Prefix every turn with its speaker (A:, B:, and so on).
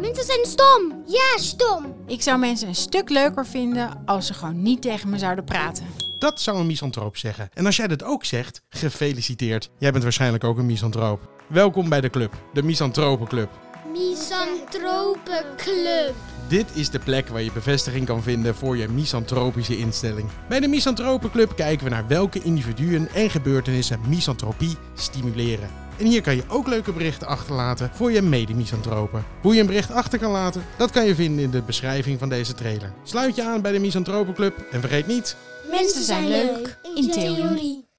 A: Mensen zijn stom. Ja, stom.
B: Ik zou mensen een stuk leuker vinden als ze gewoon niet tegen me zouden praten.
C: Dat zou een misantroop zeggen. En als jij dat ook zegt, gefeliciteerd. Jij bent waarschijnlijk ook een misantroop. Welkom bij de club, de Misantropenclub.
A: Misantropenclub.
C: Dit is de plek waar je bevestiging kan vinden voor je misantropische instelling. Bij de Misantropenclub kijken we naar welke individuen en gebeurtenissen misantropie stimuleren. En hier kan je ook leuke berichten achterlaten voor je mede-misantropen. Hoe je een bericht achter kan laten, dat kan je vinden in de beschrijving van deze trailer. Sluit je aan bij de Misantropenclub en vergeet niet,
B: Mensen zijn leuk, in theorie.